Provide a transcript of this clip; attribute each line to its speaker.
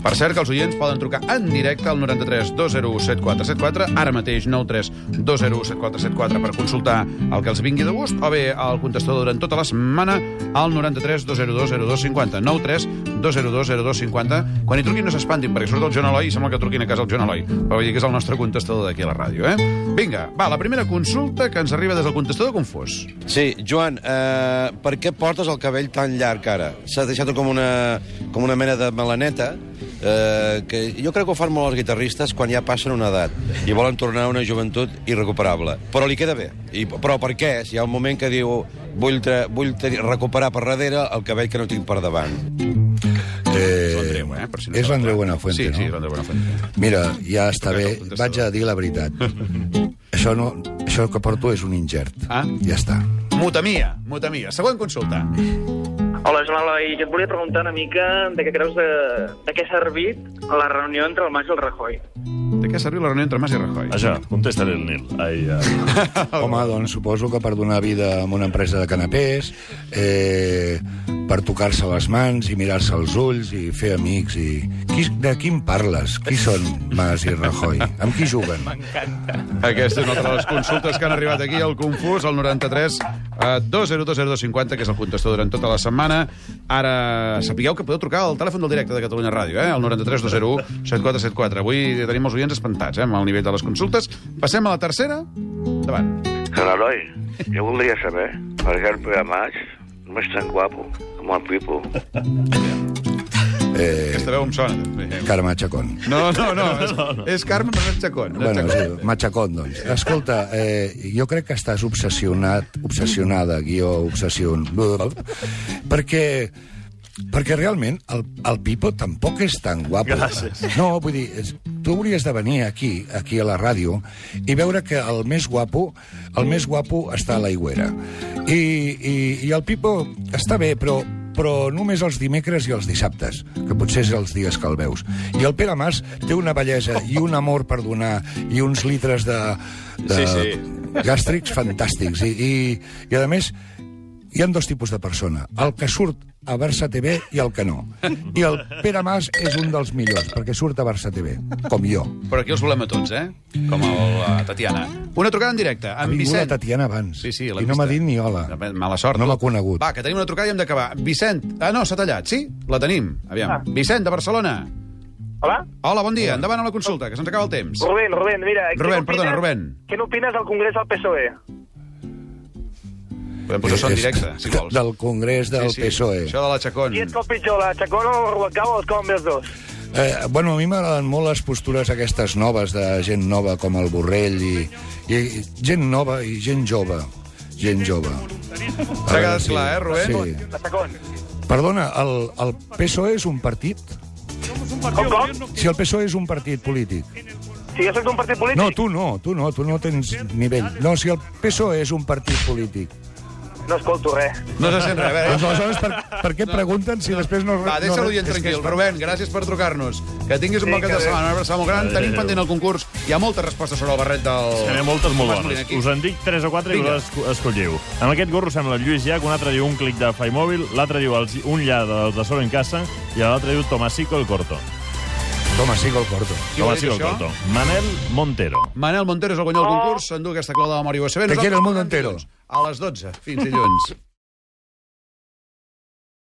Speaker 1: Per cert, que els oients poden trucar en directe al 93 201 7474, ara mateix 93 201 7474 per consultar el que els vingui de gust, o bé al contestador durant tota la setmana al 93 202 0250, 93 202 0250. Quan hi truquin no s'espantin, perquè surt el Joan Eloi i sembla que truquin a casa el Joan Eloi, però vull dir que és el nostre contestador d'aquí a la ràdio, eh? Vinga, va, la primera consulta que ens arriba des del contestador confús.
Speaker 2: Sí, Joan, eh, per què portes el cabell tan llarg ara? S'ha deixat com una, com una mena de melaneta, eh, que jo crec que ho fan molt els guitarristes quan ja passen una edat i volen tornar a una joventut irrecuperable. Però li queda bé. I, però per què? Si hi ha un moment que diu vull, tra- vull te- recuperar per darrere el cabell que no tinc per davant.
Speaker 3: Eh,
Speaker 1: L'Andreu, eh? Per si no
Speaker 3: és
Speaker 1: s'ha
Speaker 3: l'Andreu
Speaker 1: acabat.
Speaker 3: Buenafuente,
Speaker 1: sí,
Speaker 3: no?
Speaker 1: Sí, sí, l'Andreu Buenafuente.
Speaker 3: Mira, ja està
Speaker 1: Toca el
Speaker 3: bé.
Speaker 1: contestador.
Speaker 3: Vaig a dir la veritat. això, no, això que porto és un ingert.
Speaker 1: Ah.
Speaker 3: Ja està.
Speaker 1: Mutamia, mutamia. Següent consulta.
Speaker 4: Hola, Joan Eloi. Jo et volia preguntar una mica de què creus de, de què ha servit la reunió entre el Mas i el Rajoy.
Speaker 1: De què ha servit la reunió entre Mas i Rajoy?
Speaker 5: Això, contesta-li el Nil. Ai, ai.
Speaker 3: Home, doncs suposo que per donar vida a una empresa de canapés, eh, per tocar-se les mans i mirar-se els ulls i fer amics i... Qui, de quin parles? Qui són Mas i Rajoy? Amb qui juguen?
Speaker 1: Aquesta és una altra de les consultes que han arribat aquí al Confús, al 93 eh, 2020250, que és el contestador durant tota la setmana. Ara, sapigueu que podeu trucar al telèfon del directe de Catalunya Ràdio, eh? al 93 201 7474. Avui tenim els oients espantats, eh? amb el nivell de les consultes. Passem a la tercera. Endavant.
Speaker 6: Però, Eloi, jo voldria saber per què el Pere Mas no és tan guapo com el Pipo.
Speaker 3: Eh,
Speaker 1: Aquesta veu em sona.
Speaker 3: Carme Chacón.
Speaker 1: No, no, no, és, és Carme Fernández Chacón. no és
Speaker 3: Bueno,
Speaker 1: Chacón.
Speaker 3: sí, machacón, doncs. Escolta, eh, jo crec que estàs obsessionat, obsessionada, guió, obsessió... Perquè perquè realment el, el Pipo tampoc és tan guapo.
Speaker 5: Gràcies.
Speaker 3: No, vull dir, és- tu hauries de venir aquí, aquí a la ràdio, i veure que el més guapo, el més guapo està a la Higuera. I, i, i el Pipo està bé, però però només els dimecres i els dissabtes, que potser és els dies que el veus. I el Pere Mas té una bellesa i un amor per donar i uns litres de, de
Speaker 5: Sí, sí.
Speaker 3: gàstrics fantàstics. I, i, I, a més, hi ha dos tipus de persona, el que surt a Barça TV i el que no. I el Pere Mas és un dels millors, perquè surt a Barça TV, com jo.
Speaker 1: Però aquí els volem a tots, eh? Com el, la Tatiana. Una trucada en directe,
Speaker 3: Ha
Speaker 1: amb
Speaker 3: vingut la
Speaker 1: Vicent.
Speaker 3: Tatiana abans,
Speaker 1: Sí, sí,
Speaker 3: i
Speaker 1: l'hem eh?
Speaker 3: no m'ha
Speaker 1: vista.
Speaker 3: dit ni hola.
Speaker 1: Mala sort.
Speaker 3: No
Speaker 1: tu.
Speaker 3: m'ha conegut.
Speaker 1: Va, que tenim una trucada i hem d'acabar. Vicent... Ah, no, s'ha tallat, sí? La tenim. Aviam.
Speaker 4: Ah.
Speaker 1: Vicent, de Barcelona.
Speaker 4: Hola?
Speaker 1: Hola, bon dia. Endavant amb la consulta, que se'ns acaba el temps.
Speaker 4: Rubén, Rubén, mira... què
Speaker 1: Rubén,
Speaker 4: n'opines-
Speaker 1: perdona, Rubén.
Speaker 4: Què n'opines del Congrés del PSOE?
Speaker 1: Podem posar son directe, si vols.
Speaker 3: Eh, Del Congrés del PSOE.
Speaker 1: Això de la Chacón.
Speaker 4: Qui et cau pitjor, la Chacón o el Rubalcaba o et cauen bé els dos?
Speaker 3: Eh, bueno, a mi m'agraden molt les postures aquestes noves, de gent nova com el Borrell i, i gent nova i gent jove. Gent jove.
Speaker 1: T'ha quedat clar, eh, Rubén?
Speaker 3: Sí.
Speaker 4: La Chacón.
Speaker 3: Perdona, el, el PSOE E és un partit?
Speaker 4: Com, com?
Speaker 3: Si el PSOE E és un partit polític.
Speaker 4: Si jo soc d'un partit polític?
Speaker 3: No, tu no, tu no, tu no tens nivell. No, si el PSOE E és un partit polític.
Speaker 4: No escolto res.
Speaker 1: No se sent res. A veure,
Speaker 3: Doncs aleshores, per, per què pregunten si després no...
Speaker 1: Eh? Va, deixa
Speaker 3: no-
Speaker 1: l'oient
Speaker 3: és que
Speaker 1: tranquil.
Speaker 3: és-
Speaker 1: Rubén, gràcies per trucar-nos. Que tinguis un bon
Speaker 4: Sí,
Speaker 1: cap de
Speaker 4: que
Speaker 1: setmana. Una abraçada molt gran.
Speaker 5: Adéu.
Speaker 1: Tenim pendent el concurs. Hi ha moltes respostes sobre el barret del...
Speaker 5: Hi ha moltes molt
Speaker 1: Tomàs
Speaker 5: bones.
Speaker 1: Molina aquí.
Speaker 5: Us en dic 3 o 4 i
Speaker 1: Vinga.
Speaker 5: vosaltres esco- escolliu. En aquest gorro sembla el Lluís Llach, un altre diu un clic de Faimòbil, l'altre diu els, un llà dels de Solo en Casa i l'altre diu Tomasico el Corto.
Speaker 3: Toma, sí que el corto.
Speaker 1: Qui ho ha dit,
Speaker 5: Tomasico el
Speaker 1: això?
Speaker 5: Corto. Manel Montero.
Speaker 1: Manel Montero és el guanyador del concurs. S'endú aquesta clau de la Mòria USB.
Speaker 3: Oh! Te
Speaker 1: Nosaltres
Speaker 3: quiero el mundo
Speaker 1: tornem
Speaker 3: entero.
Speaker 1: dilluns A les 12. Fins dilluns.